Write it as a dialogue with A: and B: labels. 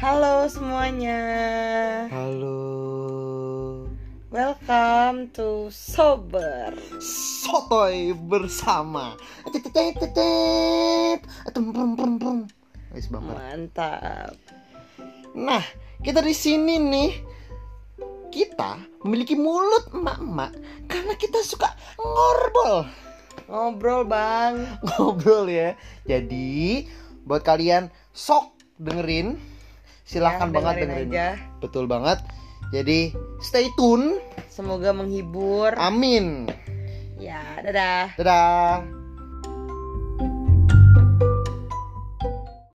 A: Halo semuanya,
B: Halo
A: welcome to Sober
B: Sotoy bersama Tetetetetet. Atum, prum, prum, prum. Wis, bumper.
A: Mantap
B: Nah kita di sini nih Kita memiliki mulut emak-emak Karena kita suka ngorbol
A: Ngobrol bang
B: Ngobrol ya Jadi buat kalian sok dengerin Silahkan
A: Ya,
B: banget dengerin
A: aja
B: Betul banget Jadi stay tune
A: Semoga menghibur
B: Amin
A: Ya dadah
B: Dadah